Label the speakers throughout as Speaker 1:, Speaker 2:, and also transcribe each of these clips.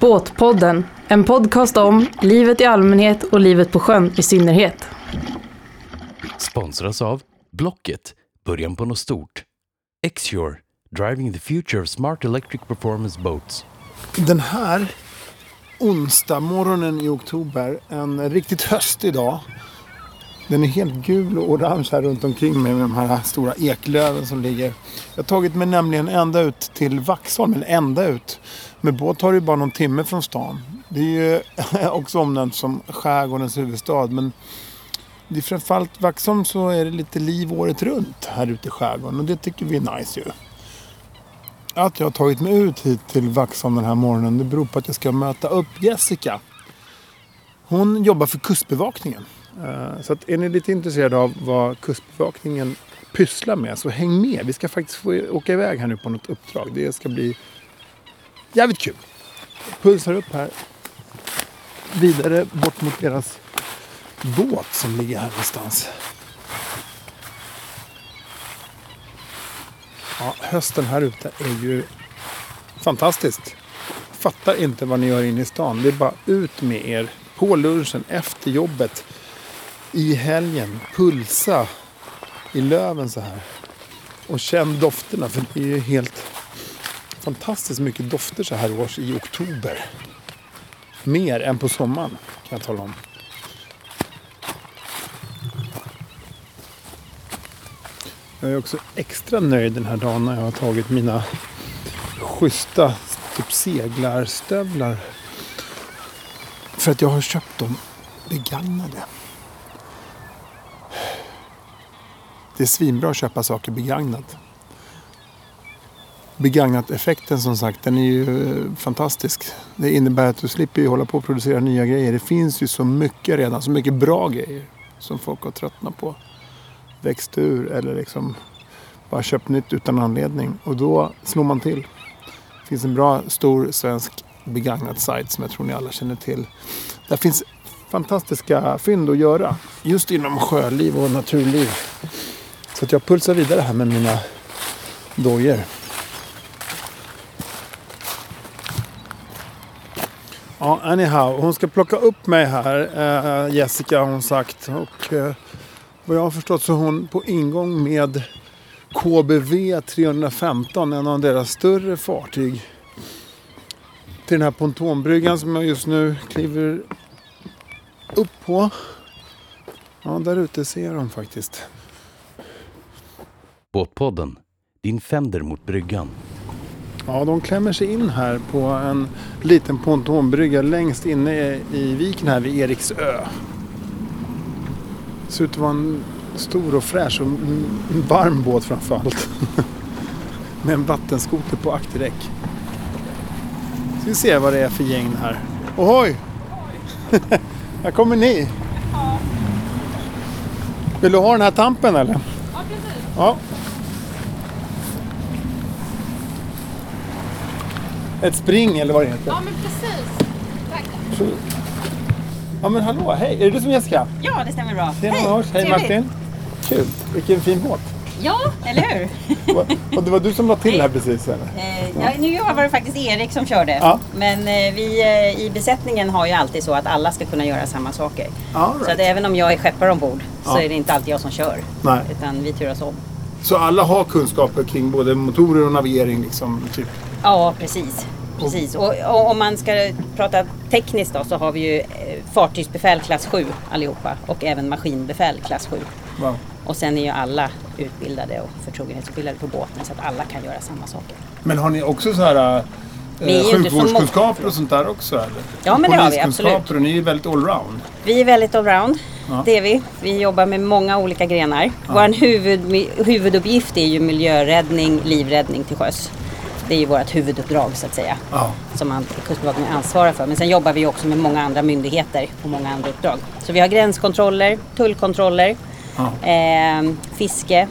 Speaker 1: Båtpodden, en podcast om livet i allmänhet och livet på sjön i synnerhet.
Speaker 2: Sponsras av Blocket, början på något stort. Xure, driving the future of smart electric performance boats.
Speaker 3: Den här onsdag morgonen i oktober, en riktigt höstig dag. Den är helt gul och orange här runt omkring mig med de här stora eklöven som ligger. Jag har tagit mig nämligen ända ut till Vaxholm, eller ända ut. Med båt tar det ju bara någon timme från stan. Det är ju också omnämnt som skärgårdens huvudstad men det är framförallt Vaxholm så är det lite liv året runt här ute i skärgården och det tycker vi är nice ju att jag har tagit mig ut hit till Vaxholm den här morgonen det beror på att jag ska möta upp Jessica. Hon jobbar för Kustbevakningen. Eh, Så att är ni lite intresserade av vad Kustbevakningen pysslar med så häng med. Vi ska faktiskt få åka iväg här nu på något uppdrag. Det ska bli jävligt kul. Pulsar upp här. Vidare bort mot deras båt som ligger här någonstans. Ja, hösten här ute är ju fantastiskt. Fattar inte vad ni gör inne i stan. Det är bara ut med er. På lunchen, efter jobbet, i helgen. Pulsa i löven så här. Och känn dofterna för det är ju helt fantastiskt mycket dofter så här års i oktober. Mer än på sommaren kan jag tala om. Jag är också extra nöjd den här dagen när jag har tagit mina schyssta typ seglarstövlar. För att jag har köpt dem begagnade. Det är svinbra att köpa saker begagnat. Begagnat-effekten som sagt, den är ju eh, fantastisk. Det innebär att du slipper ju hålla på och producera nya grejer. Det finns ju så mycket redan, så mycket bra grejer som folk har tröttnat på växt ur eller liksom bara köpt nytt utan anledning. Och då slår man till. Det finns en bra stor svensk begagnad sajt som jag tror ni alla känner till. Där finns fantastiska fynd att göra. Just inom sjöliv och naturliv. Så att jag pulsar vidare här med mina dojor. Ja, anyhow. Hon ska plocka upp mig här, eh, Jessica har hon sagt. Och, eh, vad jag har förstått så är hon på ingång med KBV 315, en av deras större fartyg. Till den här pontonbryggan som jag just nu kliver upp på. Ja, där ute ser jag dem faktiskt.
Speaker 2: Båtpodden, din fender mot bryggan.
Speaker 3: Ja, de klämmer sig in här på en liten pontonbrygga längst inne i viken här vid Eriksö. Ser ut att vara en stor och fräsch och m- varm båt framför allt. Med en vattenskoter på akterdäck. Ska vi se vad det är för gäng här. Ohoj! här kommer ni. Vill du ha den här tampen eller?
Speaker 4: Ja, precis.
Speaker 3: Ja. Ett spring eller vad det heter.
Speaker 4: Ja, men precis. Tack.
Speaker 3: Ja men hallå, hej! Är det du som är Jessica?
Speaker 5: Ja, det stämmer bra.
Speaker 3: Tjena Lars, hej
Speaker 5: trevligt.
Speaker 3: Martin! Kul, vilken fin båt!
Speaker 5: Ja, eller hur?
Speaker 3: Va- Och det var du som la till här precis eller?
Speaker 5: Eh, ja, nu var det faktiskt Erik som körde.
Speaker 3: Ja.
Speaker 5: Men eh, vi eh, i besättningen har ju alltid så att alla ska kunna göra samma saker.
Speaker 3: All
Speaker 5: Så att även om jag är skeppare ombord så
Speaker 3: Ja.
Speaker 5: är det inte alltid jag som kör.
Speaker 3: Nej.
Speaker 5: Utan vi turas om.
Speaker 3: Så alla har kunskaper kring både motorer och navigering liksom? Typ.
Speaker 5: Ja, precis. Precis. Och, och om man ska prata tekniskt då så har vi ju eh, fartygsbefäl klass 7 allihopa och även maskinbefäl klass 7.
Speaker 3: Wow.
Speaker 5: Och sen är ju alla utbildade och förtrogenhetsutbildade på båten så att alla kan göra samma saker.
Speaker 3: Men har ni också så här
Speaker 5: Vi är
Speaker 3: eh,
Speaker 5: ju inte så
Speaker 3: sjukvårdskunskaper och sånt där också? Eller?
Speaker 5: Ja, men det har vi,
Speaker 3: Poliskunskaper,
Speaker 5: absolut.
Speaker 3: och ni är väldigt allround.
Speaker 5: Vi är väldigt allround.
Speaker 3: Ja.
Speaker 5: Det är vi. Vi jobbar med många olika grenar. Vår huvud, huvuduppgift är ju miljöräddning, livräddning till sjöss. Det är ju vårt huvuduppdrag så att säga.
Speaker 3: Ja.
Speaker 5: Som an- Kustbevakningen ansvarar för. Men sen jobbar vi ju också med många andra myndigheter och många andra uppdrag. Så vi har gränskontroller, tullkontroller,
Speaker 3: Ja.
Speaker 5: eh, fiske,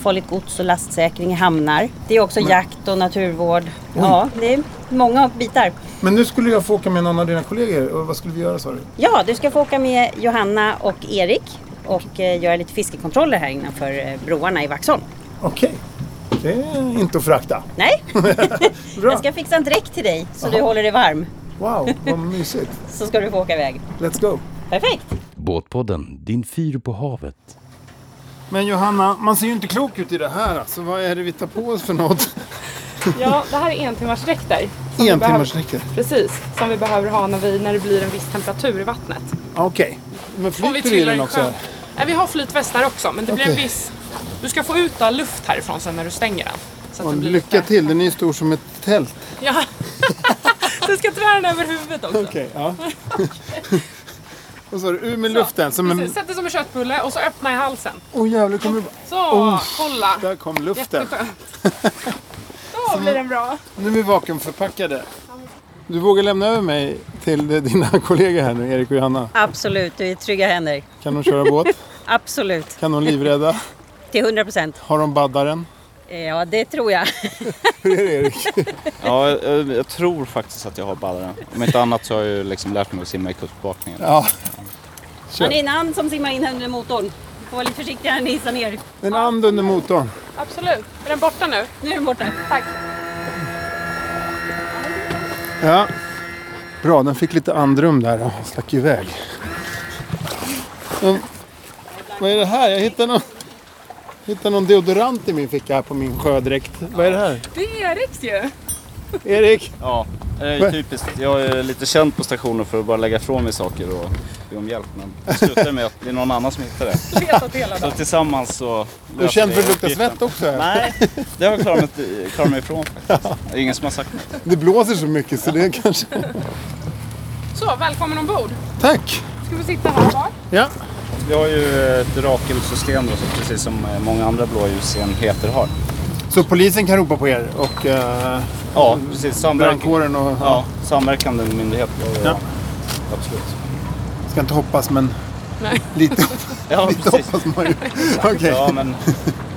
Speaker 5: farligt gods och lastsäkring i hamnar. Det är också jakt och naturvård. Ja, det är många bitar.
Speaker 3: Men nu skulle jag få åka med någon av dina kollegor och vad skulle vi göra sa du?
Speaker 5: Ja, du ska få åka med Johanna och Erik och eh, göra lite fiskekontroller här innanför eh, broarna i Vaxholm.
Speaker 3: Okej. Det är inte att förakta.
Speaker 5: Nej,
Speaker 3: Bra.
Speaker 5: jag ska fixa en dräkt till dig så
Speaker 3: Jaha.
Speaker 5: du håller dig varm.
Speaker 3: Wow, vad mysigt.
Speaker 5: så ska du få åka iväg.
Speaker 3: Let's go.
Speaker 5: Perfekt!
Speaker 2: Båtpodden, din fyr på havet.
Speaker 3: Men Johanna, man ser ju inte klok ut i det här. Alltså, vad är det vi tar på oss för något?
Speaker 6: Ja, det här är entimmarsdräkter. som vi
Speaker 3: En
Speaker 6: behöver-
Speaker 3: timmars räcker.
Speaker 6: Precis, som vi behöver ha när, vi, när det blir en viss temperatur i vattnet.
Speaker 3: Okej. Men
Speaker 6: Om vi
Speaker 3: flyter i den
Speaker 6: i
Speaker 3: också?
Speaker 6: sjön. Nej, vi har flytvästar också, men det blir
Speaker 3: Okej.
Speaker 6: en viss... Du ska få ut all luft härifrån sen när du stänger den. Så att
Speaker 3: Och
Speaker 6: det blir
Speaker 3: lycka
Speaker 6: lite-
Speaker 3: till, den är ju stor som ett tält.
Speaker 6: Ja. du ska dra den över huvudet också.
Speaker 3: Okej, ja. Och så är det ur med
Speaker 6: Så,
Speaker 3: luften. Som en...
Speaker 6: precis. Sätt det som en köttbulle och så öppna i halsen.
Speaker 3: Åh jävlar, kommer...
Speaker 6: Så, kolla!
Speaker 3: där kom Oh. luften.
Speaker 6: Jätteskönt. Då blir den bra.
Speaker 3: Nu är vi vakuumförpackade. Du vågar lämna över mig till eh, dina kollegor här nu, Erik och Johanna.
Speaker 5: Absolut, du är i trygga händer.
Speaker 3: Kan de köra båt?
Speaker 5: Absolut,
Speaker 3: Kan de livrädda?
Speaker 5: till 100 procent. Eh,
Speaker 3: Har de baddaren?
Speaker 5: Ja, det tror jag.
Speaker 3: Hur är det Erik?
Speaker 7: Ja, jag, jag- jag tror faktiskt att jag har baddaren. Om inte annat så har jag ju liksom lärt mig att simma i kustbevakningen.
Speaker 3: Ja.
Speaker 5: Men det är en and som simmar in under motorn. Du får vara lite försiktig när ni hissar ner.
Speaker 3: En and under motorn.
Speaker 6: Absolut. Är den borta nu?
Speaker 5: Nu är den borta.
Speaker 6: Tack.
Speaker 3: Ja. Bra, den fick lite andrum där och stack iväg. Men, vad är det här? Jag hittar någon, hittar någon deodorant i min ficka här på min sjödräkt. Vad är det här?
Speaker 6: Det är Eriks ju.
Speaker 3: Erik?
Speaker 7: Ja, det är ju typiskt. Jag är lite känd på stationen för att bara lägga ifrån mig saker och be om hjälp. Men det slutar med att det är någon annan som hittar det.
Speaker 6: Petat hela dagen.
Speaker 7: Så tillsammans så...
Speaker 3: Du är
Speaker 7: löser
Speaker 3: känd för
Speaker 7: vi
Speaker 3: att lukta
Speaker 7: uppgiften.
Speaker 3: svett också.
Speaker 7: Nej, det har jag klarat mig, klarat mig ifrån faktiskt. Det är ingen som har sagt något.
Speaker 3: Det blåser så mycket så det är kanske...
Speaker 6: Så, välkommen ombord.
Speaker 3: Tack!
Speaker 6: Ska vi sitta här bak?
Speaker 3: Ja.
Speaker 7: Vi har ju ett rakelsystem då, så precis som eh, många andra blåljusenheter har.
Speaker 3: Så polisen kan ropa på er och eh,
Speaker 7: Ja, precis. Samverkan.
Speaker 3: brandkåren och...
Speaker 7: Ja, samverkande myndighet.
Speaker 3: Ja.
Speaker 7: Ja. Absolut.
Speaker 3: Ska inte hoppas men
Speaker 6: Nej.
Speaker 3: lite,
Speaker 7: Ja,
Speaker 3: lite
Speaker 7: precis.
Speaker 3: hoppas man ju. Okej.
Speaker 7: Ja, men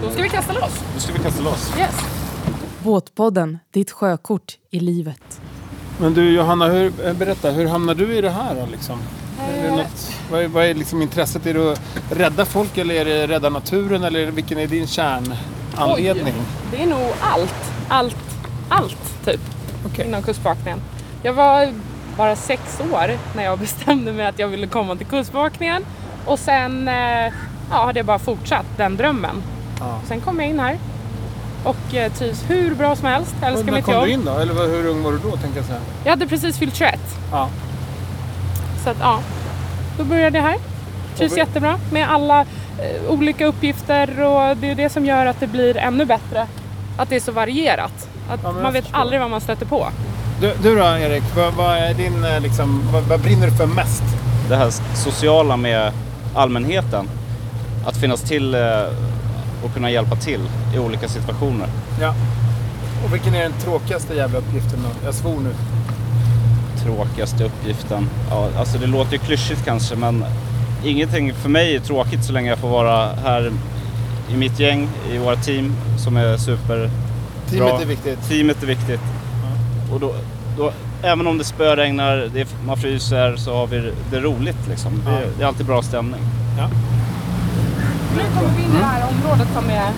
Speaker 6: Då ska vi kasta loss.
Speaker 7: nu ska vi kasta loss.
Speaker 6: Yes.
Speaker 1: Båtpodden, ditt sjökort i livet.
Speaker 3: Men du Johanna, hur, eh, berätta, hur hamnade du i det här då, liksom? Är
Speaker 6: Eh.
Speaker 3: det något, vad, är, vad är liksom intresset? Är det att rädda folk eller är det rädda naturen? Eller vilken är din kärnanledning?
Speaker 6: Det är nog allt, allt, allt typ
Speaker 3: Okej.
Speaker 6: inom Kustbevakningen. Jag var bara sex år när jag bestämde mig att jag ville komma till Kustbevakningen och sen eh, ja, har det bara fortsatt, den drömmen.
Speaker 3: Ja.
Speaker 6: Sen kom jag in här och eh, trivs hur bra som helst,
Speaker 3: Och
Speaker 6: älskar
Speaker 3: När
Speaker 6: mitt
Speaker 3: kom
Speaker 6: jobb.
Speaker 3: du in då? Eller vad- hur ung var du då? Tänker jag så här.
Speaker 6: Jag hade precis fyllt 21
Speaker 3: Ja.
Speaker 6: så att ja, då började jag här. Trivs
Speaker 3: Och vi-
Speaker 6: jättebra med alla eh, olika uppgifter och det är det som gör att det blir ännu bättre. Att det är så varierat. Att
Speaker 3: Ja, men jag
Speaker 6: man vet
Speaker 3: förstår.
Speaker 6: aldrig vad man stöter på.
Speaker 3: Du, du då Erik, vad, vad, är din, eh, liksom, vad, vad brinner du för mest?
Speaker 7: Det här sociala med allmänheten. Att finnas till eh, och kunna hjälpa till i olika situationer.
Speaker 3: Ja. Och vilken är den tråkigaste jävla uppgiften då? Jag svor nu.
Speaker 7: Tråkigaste uppgiften. Ja, alltså det låter ju klyschigt kanske men ingenting för mig är tråkigt så länge jag får vara här i mitt gäng, i våra team som är super
Speaker 3: Teamet
Speaker 7: Bra.
Speaker 3: är viktigt.
Speaker 7: Teamet är viktigt. Och då, då, även om det spöregnar, det, är- man fryser, så har vi det- det roligt liksom. Det,
Speaker 3: Ja.
Speaker 7: det är alltid bra stämning.
Speaker 6: Nu kommer vi in i det här området som är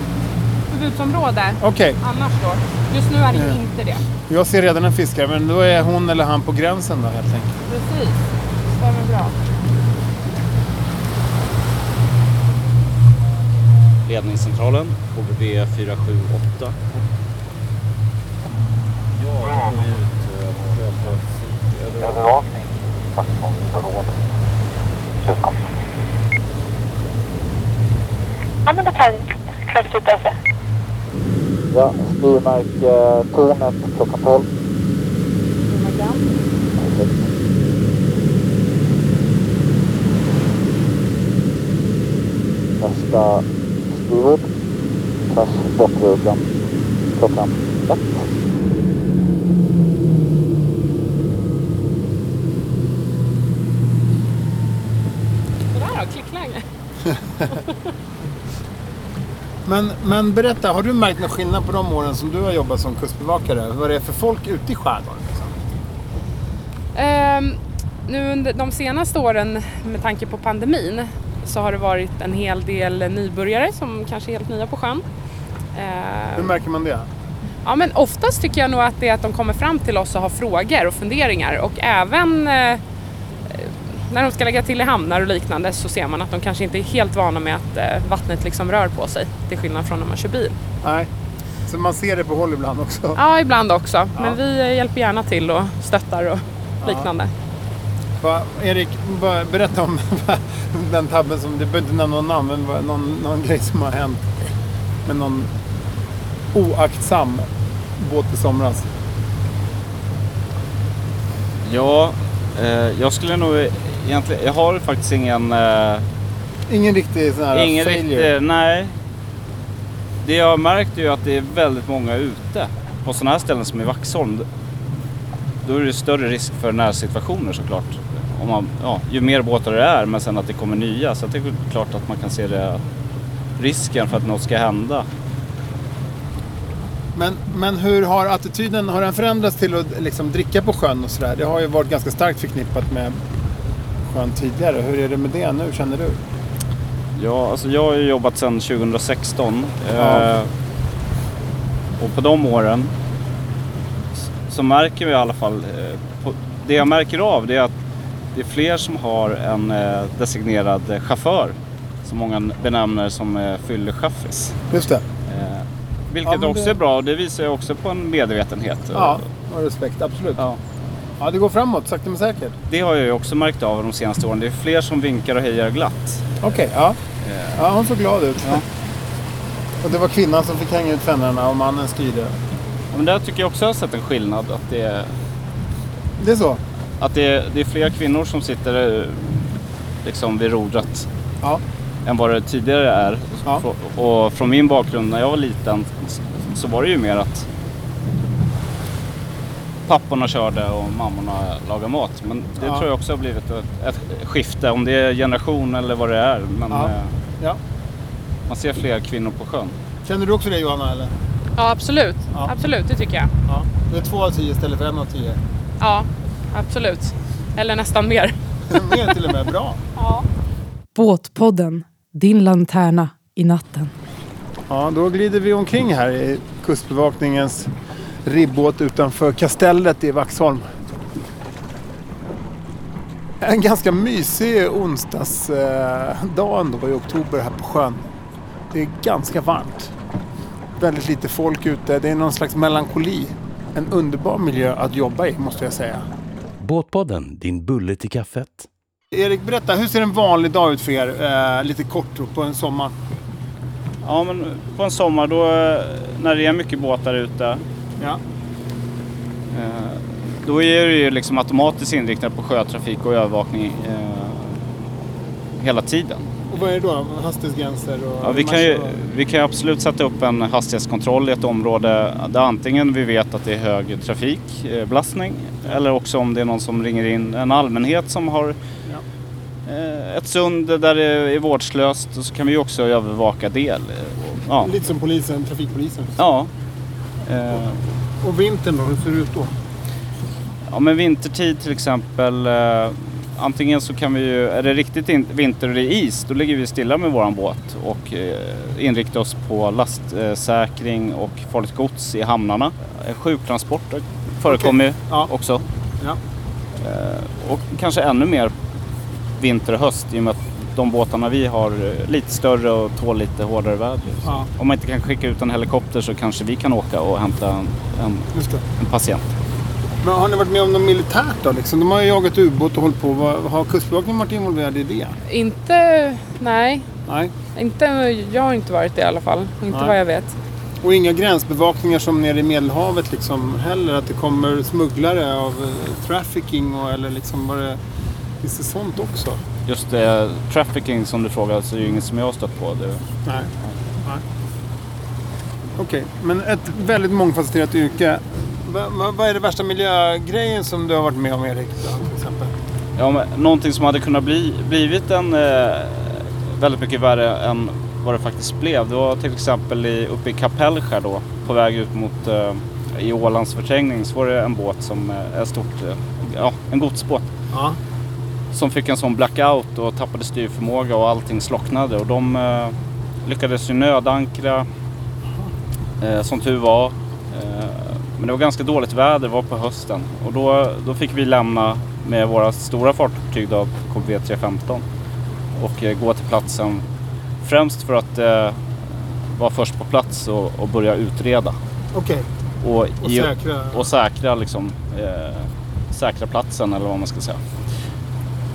Speaker 6: förbudsområde
Speaker 3: Okej,
Speaker 6: annars då. Just nu är det ju inte det.
Speaker 3: jag ser redan en fiskare men då är hon eller han på gränsen då helt enkelt.
Speaker 6: Precis. Stämmer bra.
Speaker 7: Ledningscentralen, HBB 478.
Speaker 8: Använda kvällsutdöse.
Speaker 9: Ja, urmärk eh, tornet klockan 12. Nästa styrord. Tvärs bortruggan. Klockan 1.
Speaker 6: Det där då? Klicklange?
Speaker 3: Men, men berätta, har du märkt någon skillnad på de åren som du har jobbat som kustbevakare? Vad det är för folk ute i skärgården? Liksom?
Speaker 6: Ehm, nu under de senaste åren med tanke på pandemin så har det varit en hel del nybörjare som kanske är helt nya på sjön.
Speaker 3: Hur
Speaker 6: Ehm,
Speaker 3: märker man det?
Speaker 6: Ja, men oftast tycker jag nog att det är att de kommer fram till oss och har frågor och funderingar och även eh, när de ska lägga till i hamnar och liknande så ser man att de kanske inte är helt vana med att eh, vattnet liksom rör på sig till skillnad från när man kör bil.
Speaker 3: Nej. Så man ser det på håll ibland också.
Speaker 6: Ja, ibland också. Men vi eh, hjälper gärna till och stöttar och liknande.
Speaker 3: Va, Erik, bara berätta om den tabben som, du behöver inte nämna någon namn, men vad- någon, någon grej som har hänt med någon oaktsam båt i somras.
Speaker 7: Ja, eh, jag skulle nog egentligen... Jag har faktiskt ingen... Eh,
Speaker 3: Ingen riktig sån här
Speaker 7: ingen
Speaker 3: failure.
Speaker 7: riktig... Nej. Det jag har märkt är ju att det är väldigt många ute. På sådana här ställen som i Vaxholm, då är det större risk för närsituationer såklart. Om man, ja, ju mer båtar det är, men sen att det kommer nya. Så att det är klart att man kan se det, risken för att något ska hända.
Speaker 3: Men, men hur har attityden, har den förändrats till att liksom dricka på sjön och sådär? Det har ju varit ganska starkt förknippat med sjön tidigare. Hur är det med det nu känner du?
Speaker 7: Ja, alltså jag har ju jobbat sedan 2016.
Speaker 3: Ja.
Speaker 7: Eh, och på de åren s- så märker vi i alla fall, eh, på, det jag märker av det är att det är fler som har en eh, designerad eh, chaufför som många n- benämner som eh, fyllechaffis.
Speaker 3: Just det.
Speaker 7: Eh,
Speaker 3: Ja,
Speaker 7: vilket
Speaker 3: men
Speaker 7: också
Speaker 3: det-
Speaker 7: är bra och det visar ju också på en medvetenhet.
Speaker 3: Ja, och respekt. Absolut.
Speaker 7: Ja.
Speaker 3: Ja, det går framåt sakta men säkert.
Speaker 7: Det har jag ju också märkt av de senaste åren. Det är fler som vinkar och hejar glatt.
Speaker 3: Okej, ja. Ja, hon såg glad ut.
Speaker 7: Ja.
Speaker 3: Och det var kvinnan som fick hänga ut fendrarna och mannen styrde.
Speaker 7: Ja, Men där tycker jag också jag har sett en skillnad. Att det är,
Speaker 3: Det är så?
Speaker 7: Att det är, det är fler kvinnor som sitter eh, liksom vid rodret
Speaker 3: Ja.
Speaker 7: än vad det tidigare är.
Speaker 3: Ja.
Speaker 7: Frå- Och från min bakgrund när jag var liten s- så var det ju mer att papporna körde och mammorna lagade mat. Men det
Speaker 3: Ja.
Speaker 7: tror jag också har blivit ett, ett skifte, om det är generation eller vad det är. Men
Speaker 3: Ja.
Speaker 7: eh,
Speaker 3: ja.
Speaker 7: man ser fler kvinnor på sjön.
Speaker 3: Känner du också det Johanna? Eller?
Speaker 6: Ja, absolut.
Speaker 3: Ja.
Speaker 6: Absolut, det tycker jag.
Speaker 3: Ja. Det är två av tio istället för en av tio.
Speaker 6: Ja, absolut. Eller nästan mer.
Speaker 3: Mer till och med. Bra.
Speaker 1: Båtpodden, din lanterna i natten.
Speaker 3: Ja, då glider vi omkring här i Kustbevakningens ribbåt utanför kastellet i Vaxholm. En ganska mysig onsdagsdag ändå i oktober här på sjön. Det är ganska varmt. Väldigt lite folk ute. Det är någon slags melankoli. En underbar miljö att jobba i måste jag säga.
Speaker 2: Båtpodden, din bulle till kaffet.
Speaker 3: Erik, berätta. Hur ser en vanlig dag ut för er? Eh, lite kort då, på en sommar.
Speaker 7: Ja, men på en sommar då, eh, när det är mycket båtar ute,
Speaker 3: Ja.
Speaker 7: Eh, Då är det ju liksom automatiskt inriktat på sjötrafik och övervakning eh, hela tiden.
Speaker 3: Och vad är det då? Hastighetsgränser och...
Speaker 7: Ja, vi, kan ju, vi kan ju absolut sätta upp en hastighetskontroll i ett område där antingen vi vet att det är hög trafikbelastning eller också om det är någon som ringer in, en allmänhet som har eh, ett sund där det är vårdslöst och så kan vi ju också övervaka det. Eh, och- Ja.
Speaker 3: Lite som polisen, trafikpolisen.
Speaker 7: ja. Eh,
Speaker 3: Och vintern då, hur ser det ut då?
Speaker 7: Ja men vintertid till exempel. Eh, antingen så kan vi ju, är det riktigt in, vinter och det är is, då ligger vi stilla med våran båt och eh, inriktar oss på lastsäkring och farligt gods i hamnarna. Eh, Sjuktransporter förekommer ju
Speaker 3: Ja.
Speaker 7: också.
Speaker 3: Ja.
Speaker 7: Eh, och kanske ännu mer vinter och höst i och med att de båtarna vi har eh, lite större och tål lite hårdare väder.
Speaker 3: Ja.
Speaker 7: Om man inte kan skicka ut en helikopter så kanske vi kan åka och hämta en, en,
Speaker 3: Just det.
Speaker 7: en patient.
Speaker 3: Men har ni varit med om något militärt då? Liksom? De har ju jagat ubåt och hållit på. Vad- Har Kustbevakningen varit involverad i det?
Speaker 6: Inte, nej.
Speaker 3: Nej.
Speaker 6: Inte, jag har inte varit det i alla fall. Inte
Speaker 3: Nej.
Speaker 6: vad jag vet.
Speaker 3: Och inga gränsbevakningar som nere i Medelhavet liksom heller? Att det kommer smugglare av eh, trafficking och eller liksom var det... Finns det sånt också?
Speaker 7: Just eh, trafficking som du frågade så är det ju inget som jag har stött på. Det,
Speaker 3: Nej. Nej. Okej, men ett väldigt mångfacetterat yrke. Va- va- vad är det värsta miljögrejen som du har varit med om Erik? Då, till exempel?
Speaker 7: ja, men, någonting som hade kunnat bli, blivit en, eh, väldigt mycket värre än vad det faktiskt blev. Det var till exempel i, uppe i Kapellskär då på väg ut mot eh, i Ålands förträngning så var det en båt som eh, är stort, eh, ja en godsbåt
Speaker 3: Ja.
Speaker 7: som fick en sån blackout och tappade styrförmåga och allting slocknade och de eh, lyckades ju nödankra eh, som tur var. Eh, Men det var ganska dåligt väder, det var på hösten. Och då, då fick vi lämna med våra stora fartyg då, KV 315 och eh, gå till platsen främst för att eh, vara först på plats och, och börja utreda.
Speaker 3: Okej,
Speaker 7: Och,
Speaker 3: och
Speaker 7: i-
Speaker 3: säkra.
Speaker 7: och säkra, liksom, eh, säkra platsen eller vad man ska säga.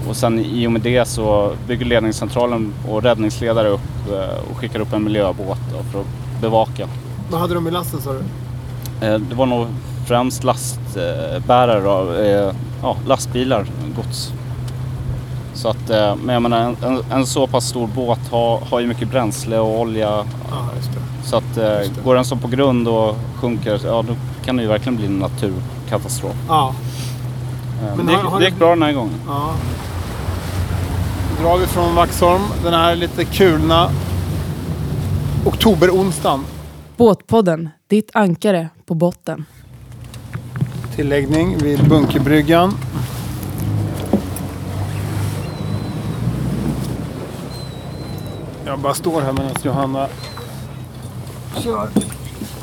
Speaker 7: Och sen i och med det så bygger ledningscentralen och räddningsledare upp eh, och skickar upp en miljöbåt då, för att bevaka.
Speaker 3: Vad hade de i lasten sa du?
Speaker 7: Eh, det var nog främst lastbärare, då, eh, ja, lastbilar, gods. Så att, eh, men jag menar en, en, en så pass stor båt har, har ju mycket bränsle och olja
Speaker 3: Ja, just det.
Speaker 7: så att eh,
Speaker 3: Just det.
Speaker 7: går den så på grund och sjunker, ja då kan det ju verkligen bli en naturkatastrof.
Speaker 3: Ja,
Speaker 7: Eh,
Speaker 3: Men
Speaker 7: Men det,
Speaker 3: har-
Speaker 7: gick,
Speaker 3: har
Speaker 7: det
Speaker 3: ni-
Speaker 7: gick bra den här gången.
Speaker 3: ja. Drar vi från Vaxholm den här lite kulna oktoberonsdagen.
Speaker 1: Båtpodden, ditt ankare på botten.
Speaker 3: Tilläggning vid Bunkerbryggan. Jag bara står här medan Johanna kör.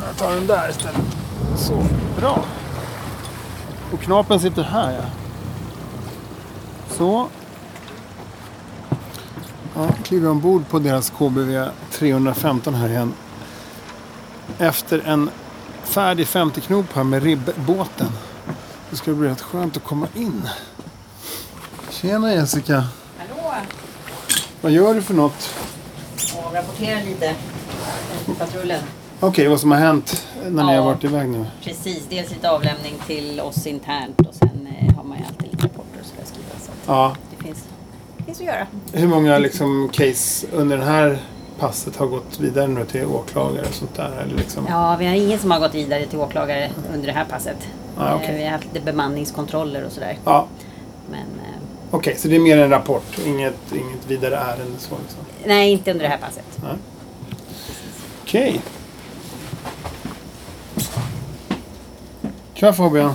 Speaker 3: Jag tar den där istället. Så, bra. Och knapen sitter här ja. Så. Ja, kliver ombord på deras KBV 315 här igen. Efter en färdig 50 knop här med ribbåten. Det ska bli rätt skönt att komma in. Tjena Jessica.
Speaker 5: Hallå!
Speaker 3: Vad gör du för något?
Speaker 5: Och rapportera lite. Patrullen.
Speaker 3: Okej, vad som har hänt när ni
Speaker 5: Ja.
Speaker 3: har varit iväg nu.
Speaker 5: Precis, dels lite avlämning till oss internt och sen eh, har man ju alltid lite rapporter som ska skrivas. Så att
Speaker 3: Ja.
Speaker 5: det finns, det finns att göra.
Speaker 3: Hur många liksom, case under det här passet har gått vidare nu till åklagare och sånt där? Eller liksom?
Speaker 5: Ja, vi har ingen som har gått vidare till åklagare under det här passet.
Speaker 3: Ah, okej.
Speaker 5: Eh, Vi har haft lite bemanningskontroller och sådär.
Speaker 3: Ja,
Speaker 5: Men eh,
Speaker 3: Okej, så det är mer en rapport och inget, inget vidare ärende så liksom.
Speaker 5: nej, inte under det här passet.
Speaker 3: Okej. Tja Fabian.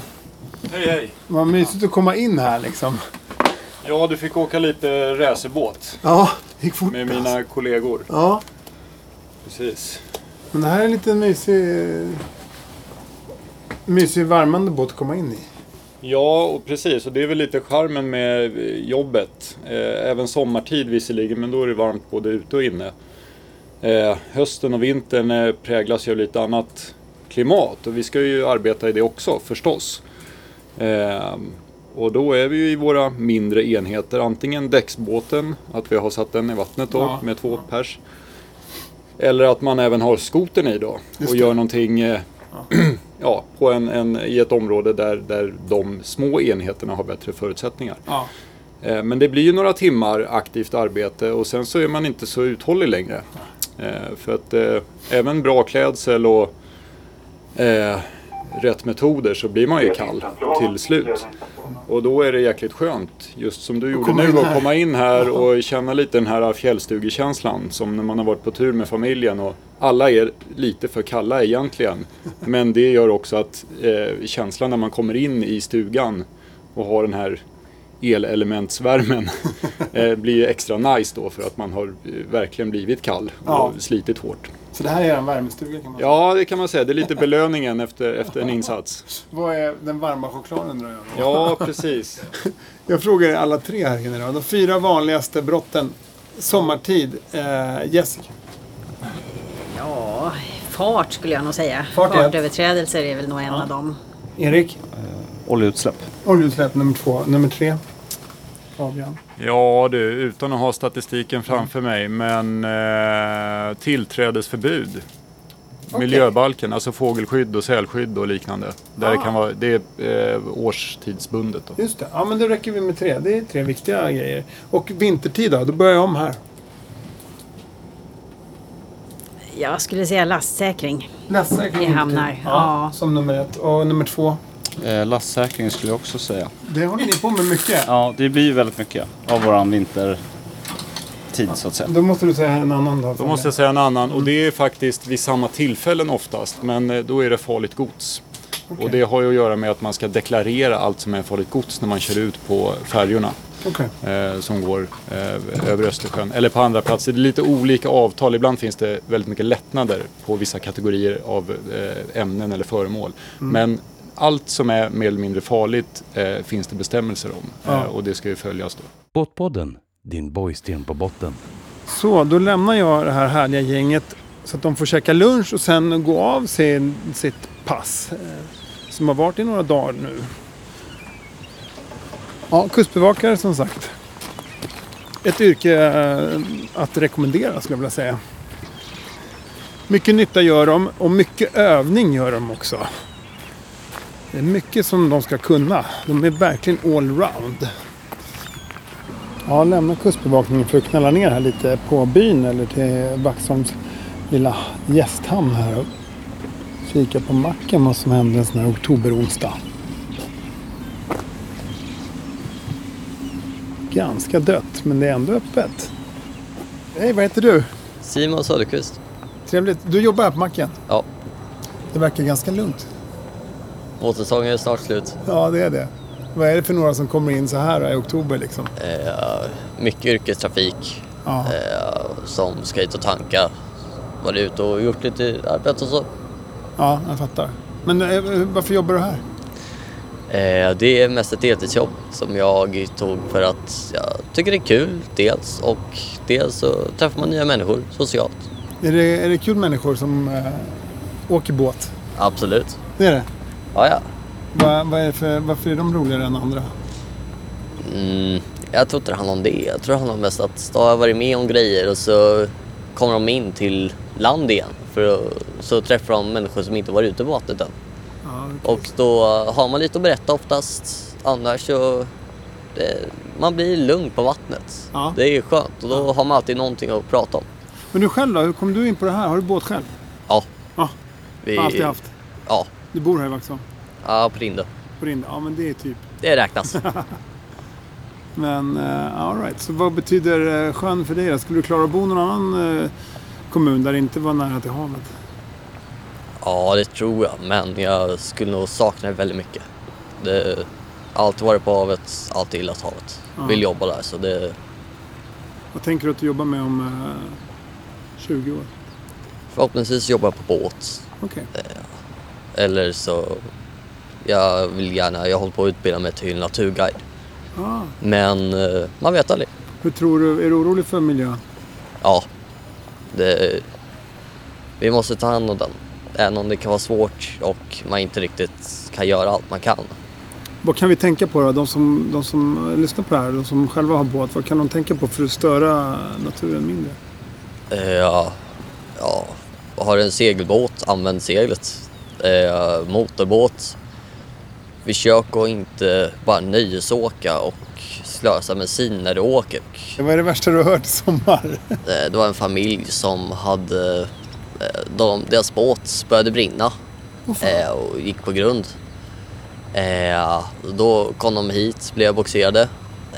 Speaker 10: Hej hej!
Speaker 3: Vad mysigt att komma in här liksom.
Speaker 10: Ja, du fick åka lite racerbåt
Speaker 3: Ja, det gick fort
Speaker 10: med
Speaker 3: alltså.
Speaker 10: mina kollegor.
Speaker 3: Ja,
Speaker 10: Precis.
Speaker 3: men det här är en liten mysig... Mysig värmande båt att komma in i.
Speaker 10: Ja, och precis. Och det är väl lite charmen med eh, jobbet. Eh, Även sommartid visserligen, men då är det varmt både ute och inne. Eh, Hösten och vintern eh, präglas ju av lite annat klimat och vi ska ju arbeta i det också förstås. Eh, Och då är vi ju i våra mindre enheter, antingen däcksbåten, att vi har satt den i vattnet då
Speaker 3: Ja.
Speaker 10: med två pers. Eller att man även har skotern i då
Speaker 3: Just
Speaker 10: och
Speaker 3: det.
Speaker 10: gör någonting eh, ja, på en, en, i ett område där, där de små enheterna har bättre förutsättningar.
Speaker 3: Ja.
Speaker 10: Eh, Men det blir ju några timmar aktivt arbete och sen så är man inte så uthållig längre. Eh, För att eh, även bra klädsel och eh, rätt metoder så blir man ju kall till slut. Och då är det jäkligt skönt, just som du gjorde
Speaker 3: komma
Speaker 10: nu,
Speaker 3: in
Speaker 10: att
Speaker 3: här.
Speaker 10: komma in här och känna lite den här fjällstugekänslan som när man har varit på tur med familjen och alla är lite för kalla egentligen. Men det gör också att eh, känslan när man kommer in i stugan och har den här elelementsvärmen eh, blir ju extra nice då för att man har eh, verkligen blivit kall och
Speaker 3: Ja.
Speaker 10: slitit hårt.
Speaker 3: Så det här är en värmestuga kan man säga.
Speaker 10: Ja, det kan man säga. Det är lite belöningen efter, efter en insats.
Speaker 3: Vad är den varma chokladen drar jag då?
Speaker 10: Ja, precis.
Speaker 3: Jag frågar er alla tre här inne då. De fyra vanligaste brotten sommartid. Eh, Jessica.
Speaker 5: Ja, fart skulle jag nog säga.
Speaker 3: Fart, ja.
Speaker 5: Fartöverträdelser är väl nog en av dem.
Speaker 3: Erik.
Speaker 7: Oljeutsläpp.
Speaker 3: Oljeutsläpp nummer två. Nummer tre. Fabian.
Speaker 10: Ja du, utan att ha statistiken framför mig, men eh, tillträdesförbud. Miljöbalken, alltså fågelskydd och sälskydd och liknande. Där det kan vara, det är eh, årstidsbundet. Då.
Speaker 3: Just det. Ja men då räcker vi med tre. Det är tre viktiga grejer. Och vintertid då? Då börjar jag om här.
Speaker 5: Jag skulle säga lastsäkring.
Speaker 3: Nästa kan
Speaker 5: I
Speaker 3: vintertid.
Speaker 5: hamnar, ja.
Speaker 3: Som nummer ett. Och nummer två.
Speaker 7: Eh, lastsäkring skulle jag också säga.
Speaker 3: Det håller ni på med mycket.
Speaker 7: Ja, det blir ju väldigt mycket av våran vintertid så att säga.
Speaker 3: Då måste du säga en annan då.
Speaker 10: Då måste jag säga en annan och det är faktiskt vid samma tillfällen oftast, men eh, då är det farligt gods. Och det har ju att göra med att man ska deklarera allt som är farligt gods när man kör ut på färjorna. eh, som går eh, över Östersjön eller på andra platser. Det är lite olika avtal. Ibland finns det väldigt mycket lättnader på vissa kategorier av eh, ämnen eller föremål.
Speaker 3: Mm.
Speaker 10: Men allt som är mer eller mindre farligt eh, finns det bestämmelser om
Speaker 3: Ja.
Speaker 10: eh, och det ska ju följas då.
Speaker 2: Båtpodden, din borgsten på botten.
Speaker 3: Så, då lämnar jag det här härliga gänget så att de får käka lunch och sen gå av sin, sitt pass. eh, Som har varit i några dagar nu. Ja, kustbevakare som sagt. Ett yrke eh, att rekommendera skulle jag vilja säga. Mycket nytta gör de och mycket övning gör de också. Det är mycket som de ska kunna. De är verkligen allround. Ja, lämna kustbevakningen för att knälla ner här lite på byn eller till Vaxholms lilla gästhamn här och kika på macken vad som händer en sån här oktoberonsdag. Ganska dött, men det är ändå öppet. Hej, vad heter du?
Speaker 11: Simon Söderqvist.
Speaker 3: Trevligt. Du jobbar här på macken?
Speaker 11: Ja.
Speaker 3: Det verkar ganska lugnt.
Speaker 11: Vårsäsongen är snart slut.
Speaker 3: Ja, det är det. Vad är det för några som kommer in så här i oktober liksom?
Speaker 11: Eh, mycket yrkestrafik
Speaker 3: Ja.
Speaker 11: eh, som ska hit och tanka. Varit ute och gjort lite arbete och så.
Speaker 3: Ja, jag fattar. Men eh, varför jobbar du här?
Speaker 11: Eh, det är mest ett deltidsjobb som jag tog för att jag tycker det är kul dels och dels så träffar man nya människor socialt.
Speaker 3: Är det, är det kul människor som eh, åker båt?
Speaker 11: Absolut.
Speaker 3: Det är det?
Speaker 11: Ja, ja.
Speaker 3: Va, vad är det för, varför är de roligare än andra?
Speaker 11: Mm, jag tror inte det handlar om det. Jag tror det handlar mest att då har jag varit med om grejer och så kommer de in till land igen. För att- så träffar de människor som inte varit ute på vattnet än. Och då har man lite att berätta oftast. Annars så... Det, man blir lugn på vattnet.
Speaker 3: Ja.
Speaker 11: Det är skönt och då har man alltid någonting att prata om.
Speaker 3: Men du själv då? Hur kom du in på det här? Har du båt själv?
Speaker 11: Ja.
Speaker 3: Ja,
Speaker 11: Vi,
Speaker 3: har alltid haft.
Speaker 11: Ja,
Speaker 3: Du bor här i Vaxholm?
Speaker 11: ja på Rinde.
Speaker 3: På Rinde? Ja, men det är typ.
Speaker 11: Det räknas.
Speaker 3: Men uh, alright, så vad betyder eh, sjön för dig då? Skulle du klara att bo i någon annan eh, kommun där det inte var nära till havet?
Speaker 11: Ja, det tror jag, men jag skulle nog sakna det väldigt mycket. Det, alltid varit på havet, alltid gillat havet.
Speaker 3: Ja.
Speaker 11: Vill jobba där, så det...
Speaker 3: Vad tänker du att du jobbar med om eh, 20 år?
Speaker 11: Förhoppningsvis jobbar jag på båt.
Speaker 3: Okej.
Speaker 11: Eh, Eller så... Jag vill gärna... Jag håller på att utbilda mig till naturguide.
Speaker 3: Ah,
Speaker 11: Men eh, man vet aldrig.
Speaker 3: hur tror du? Är du orolig för miljön?
Speaker 11: Ja. Det, vi måste ta hand om den. Även om det kan vara svårt och man inte riktigt kan göra allt man kan.
Speaker 3: Vad kan vi tänka på då? De som, de som eh, lyssnar på det här, de som själva har båt, vad kan de tänka på för att störa naturen mindre?
Speaker 11: Eh, Ja, ja. Har du en segelbåt, använd seglet. Eh, motorbåt. Försök att inte bara nöjesåka och slösa bensin när du åker.
Speaker 3: Vad är det värsta du har hört i sommar?
Speaker 11: Eh, det var en familj som hade... Eh, de, deras båt började brinna eh, och gick på grund. Eh, då kom de hit, blev boxerade. Eh,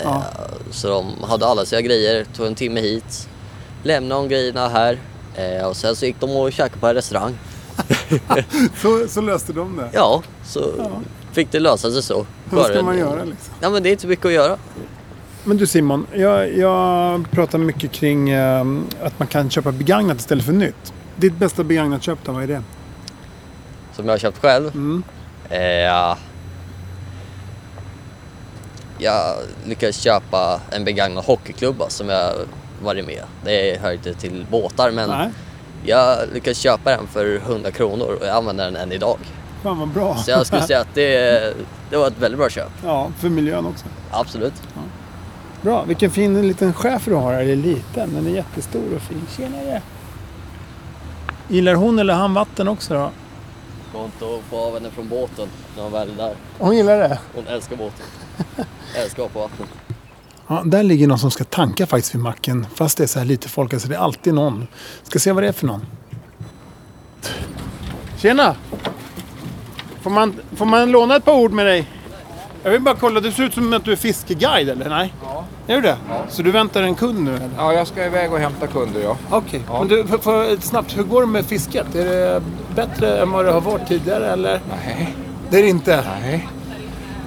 Speaker 3: Ja.
Speaker 11: Så de hade alla sina grejer, tog en timme hit, lämnade de grejerna här eh, och sen så gick de och käkade på en restaurang.
Speaker 3: Så, så löste de det?
Speaker 11: Ja, så fick det lösa sig så.
Speaker 3: Vad ska
Speaker 11: Bara-
Speaker 3: man göra liksom?
Speaker 11: Ja, men det är inte mycket att göra.
Speaker 3: Men du Simon, jag, jag pratar mycket kring eh, att man kan köpa begagnat istället för nytt. Ditt bästa begagnat köp då, vad är det?
Speaker 11: Som jag har köpt själv. Eh, jag lyckades köpa en begagnad hockeyklubba som jag varit med. Det hör inte till båtar men
Speaker 3: Nej.
Speaker 11: jag lyckades köpa den för 100 kronor och jag använder den än idag.
Speaker 3: Fan vad bra.
Speaker 11: Så jag skulle säga att det, det var ett väldigt bra köp.
Speaker 3: Ja, för miljön också.
Speaker 11: Absolut.
Speaker 3: Bra, vilken fin liten chef du har. Eller liten, den är jättestor och fin. Tjenare! Gillar hon eller han vatten också då?
Speaker 11: Går inte att få av henne från båten när hon väl är där.
Speaker 3: Hon gillar det?
Speaker 11: Hon älskar båten. älskar att vara på vattnet.
Speaker 3: Ja, där ligger någon som ska tanka faktiskt vid macken. Fast det är så här lite folk, alltså det är alltid någon. Ska se vad det är för någon. Tjena! Får man, får man låna ett par ord med dig? Jag vill bara kolla, det ser ut som att du är fiskeguide eller? Nej? Ja. Är du det? Ja. Så du väntar en kund nu eller?
Speaker 12: Ja, jag ska iväg och hämta kunder ja.
Speaker 3: Okej, men du, för, för, snabbt, hur går det med fisket? Är det bättre än vad det har varit tidigare eller?
Speaker 12: Nej.
Speaker 3: Det är det inte?
Speaker 12: Nej,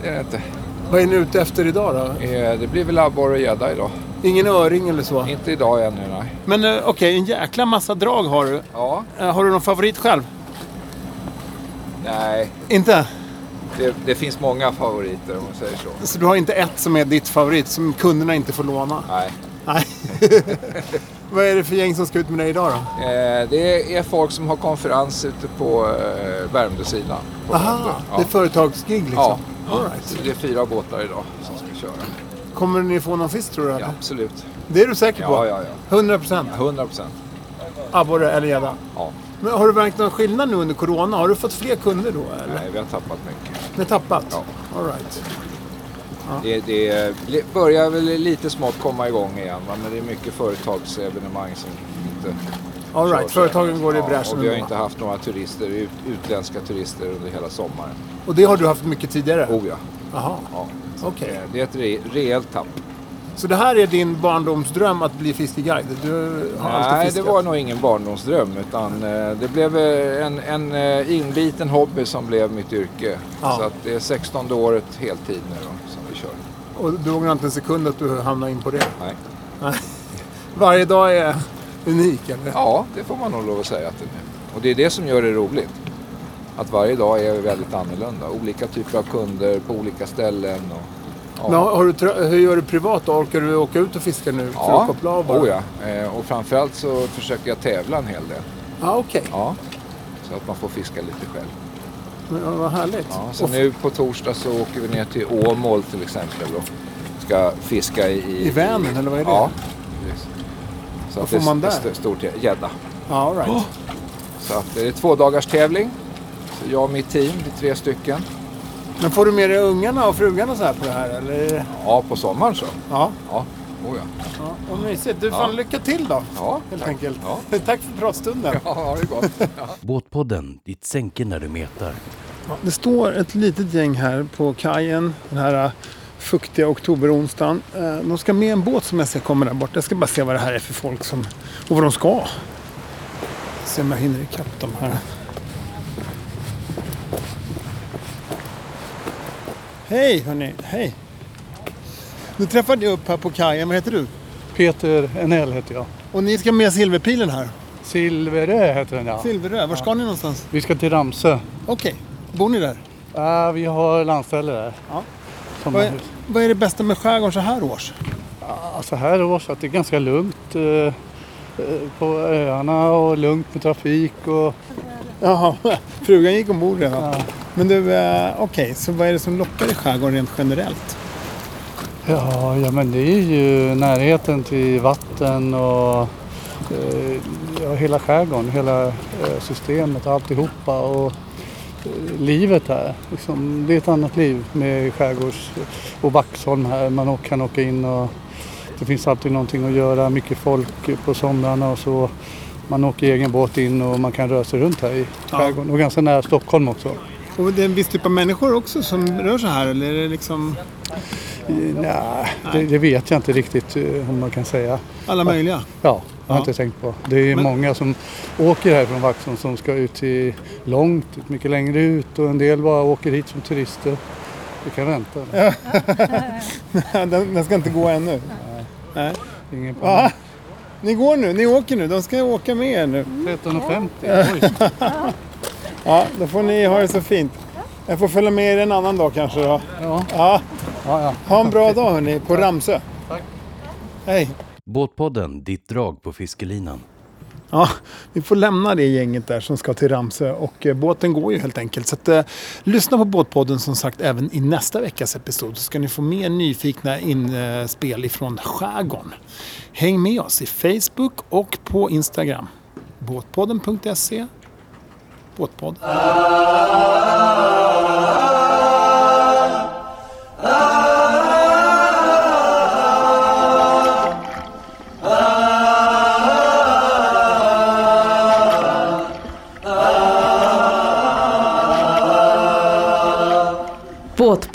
Speaker 12: det är det inte.
Speaker 3: Vad är ni ute efter idag då?
Speaker 10: Eh, Det blir väl abborre och gädda idag.
Speaker 3: Ingen öring eller så?
Speaker 10: Inte idag ännu nej.
Speaker 3: Men eh, okej, en jäkla massa drag har du.
Speaker 10: Ja.
Speaker 3: Eh, Har du någon favorit själv?
Speaker 10: Nej,
Speaker 3: Inte?
Speaker 10: det, det finns många favoriter om man säger så.
Speaker 3: Så du har inte ett som är ditt favorit, som kunderna inte får låna?
Speaker 10: Nej.
Speaker 3: Nej. Vad är det för gäng som ska ut med dig idag då?
Speaker 10: Eh, Det är folk som har konferens ute på eh, Värmdösidan. på
Speaker 3: Aha,
Speaker 10: Värmdö.
Speaker 3: det är företagsgig liksom?
Speaker 10: Ja,
Speaker 3: All right.
Speaker 10: Så det är fyra båtar idag som ska köra.
Speaker 3: Kommer ni få någon fisk tror du?
Speaker 10: Ja,
Speaker 3: eller?
Speaker 10: absolut.
Speaker 3: Det är du säker på?
Speaker 10: Ja, ja, ja.
Speaker 3: 100 procent?
Speaker 10: 100 procent.
Speaker 3: Abborre eller gädda?
Speaker 10: Ja.
Speaker 3: Men har du märkt någon skillnad nu under corona? Har du fått fler kunder då eller?
Speaker 10: Nej, vi har tappat mycket.
Speaker 3: Ni har tappat? Ja. All right.
Speaker 10: Det, det li- börjar väl lite smått komma igång igen, va? men det är mycket företagsevenemang som inte
Speaker 3: All right,
Speaker 10: körs
Speaker 3: företagen
Speaker 10: än.
Speaker 3: går i
Speaker 10: Ja,
Speaker 3: bräschen
Speaker 10: Och vi har
Speaker 3: ändå.
Speaker 10: inte haft några turister, ut, utländska turister under hela sommaren.
Speaker 3: Och det har du haft mycket tidigare?
Speaker 10: Oh ja.
Speaker 3: Jaha,
Speaker 10: ja.
Speaker 3: okej.
Speaker 10: Eh, Det är ett re, rejält tapp.
Speaker 3: Så det här är din barndomsdröm att bli fiskeguide? Du har alltid
Speaker 10: Nej, det
Speaker 3: fiskat?
Speaker 10: var nog ingen barndomsdröm utan eh, det blev eh, en, en eh, inbiten hobby som blev mitt yrke.
Speaker 3: Ja.
Speaker 10: Så att det är 16 året heltid nu då, som vi kör.
Speaker 3: Och du ångrar inte en sekund att du hamnade in på det?
Speaker 10: Nej.
Speaker 3: Nej. Varje dag är unik eller?
Speaker 10: Ja, det får man nog lov att säga att det är. Och det är det som gör det roligt. Att varje dag är väldigt annorlunda. Olika typer av kunder på olika ställen. Och,
Speaker 3: Men har, har du, trö- hur gör du privat då? Orkar du åka ut och fiska nu? För att koppla av bara?
Speaker 10: oh ja. Eh, och framförallt så försöker jag tävla en hel del.
Speaker 3: Ja, okej.
Speaker 10: Ja. Så att man får fiska lite själv.
Speaker 3: Men, ja, vad härligt.
Speaker 10: Ja, så
Speaker 3: Och-
Speaker 10: nu på torsdag så åker vi ner till Åmål till exempel och ska fiska i...
Speaker 3: I Vänern, eller vad är det?
Speaker 10: Ja, precis. Så
Speaker 3: Vad
Speaker 10: att det
Speaker 3: får man
Speaker 10: är
Speaker 3: där?
Speaker 10: st- Stort gä- gädda.
Speaker 3: Ja, all right.
Speaker 10: Så att det är två dagars tävling. Så jag och mitt team, vi är tre stycken.
Speaker 3: Men får du med dig ungarna och frugan och så här på det här eller? är det-
Speaker 10: Ja, på sommaren så.
Speaker 3: Ja.
Speaker 10: Ja, oh ja.
Speaker 3: Ja, vad mysigt. Du, fan
Speaker 10: Ja.
Speaker 3: lycka till då.
Speaker 10: Ja,
Speaker 3: helt
Speaker 10: tack.
Speaker 3: enkelt. tack för pratstunden.
Speaker 10: Ja, ha det gott.
Speaker 2: Båtpodden, ditt sänke när du metar.
Speaker 3: Det står ett litet gäng här på kajen den här eh, fuktiga oktoberonsdagen. Eh, De ska med en båt som jag ser kommer där bort. Jag ska bara se vad det här är för folk som, och vad de ska. Se om jag hinner ikapp dem här. Hej hörni, hej. Nu träffade jag upp här på kajen, vad heter du?
Speaker 7: Peter Enell heter jag.
Speaker 3: Och ni ska med Silverpilen här?
Speaker 7: Silverö heter den ja.
Speaker 3: Silverö, var ska ni någonstans?
Speaker 7: Vi ska till Ramsö.
Speaker 3: Okej, bor ni där?
Speaker 7: Ja, vi har landställe där.
Speaker 3: Ja. Vad är,
Speaker 7: Sommarhus.
Speaker 3: vad är det bästa med skärgården så här års?
Speaker 7: Ja, så Alltså, här års att det är ganska lugnt eh, eh, på öarna och lugnt med trafik och
Speaker 3: Jaha, frugan gick ombord redan. Men du, eh, okej, så vad är det som lockar i skärgården rent generellt?
Speaker 7: ja, ja men det är ju närheten till vatten och eh, ja, hela skärgården, hela eh, systemet och alltihopa och eh, livet här. Liksom, det är ett annat liv med skärgårds och Vaxholm här. Man å- kan åka in och det finns alltid någonting att göra, mycket folk på somrarna och så. Man åker egen båt in och man kan röra sig runt här i skärgården och ganska nära Stockholm också.
Speaker 3: Och det är en viss typ av människor också som rör sig här eller är det liksom
Speaker 7: Nej, det, det vet jag inte riktigt eh, om man kan säga.
Speaker 3: alla möjliga?
Speaker 7: Ja, jag
Speaker 3: Ja.
Speaker 7: har inte tänkt på. Det är
Speaker 3: Men-
Speaker 7: många som åker här från Vaxholm som ska ut till långt, mycket längre ut och en del bara åker hit som turister. Vi kan vänta.
Speaker 3: Ja. den, den ska inte gå ännu. Nej.
Speaker 7: Ingen panik.
Speaker 3: Va? Ni går nu, ni åker nu, de ska åka med er nu.
Speaker 7: 13.50, oj.
Speaker 3: ja, då får ni ha det så fint. Jag får följa med er en annan dag kanske då.
Speaker 7: Ja.
Speaker 3: ja.
Speaker 7: ja.
Speaker 3: Ha en bra dag hörni, på Ramsö. Tack. Hej.
Speaker 2: Båtpodden, ditt drag på fiskelinan.
Speaker 3: Ja, vi får lämna det gänget där som ska till Ramsö och eh, båten går ju helt enkelt. Så att, eh, lyssna på Båtpodden som sagt även i nästa veckas episod så ska ni få mer nyfikna inspel ifrån skärgården. Häng med oss i Facebook och på Instagram. Båtpodden.se Båtpodden.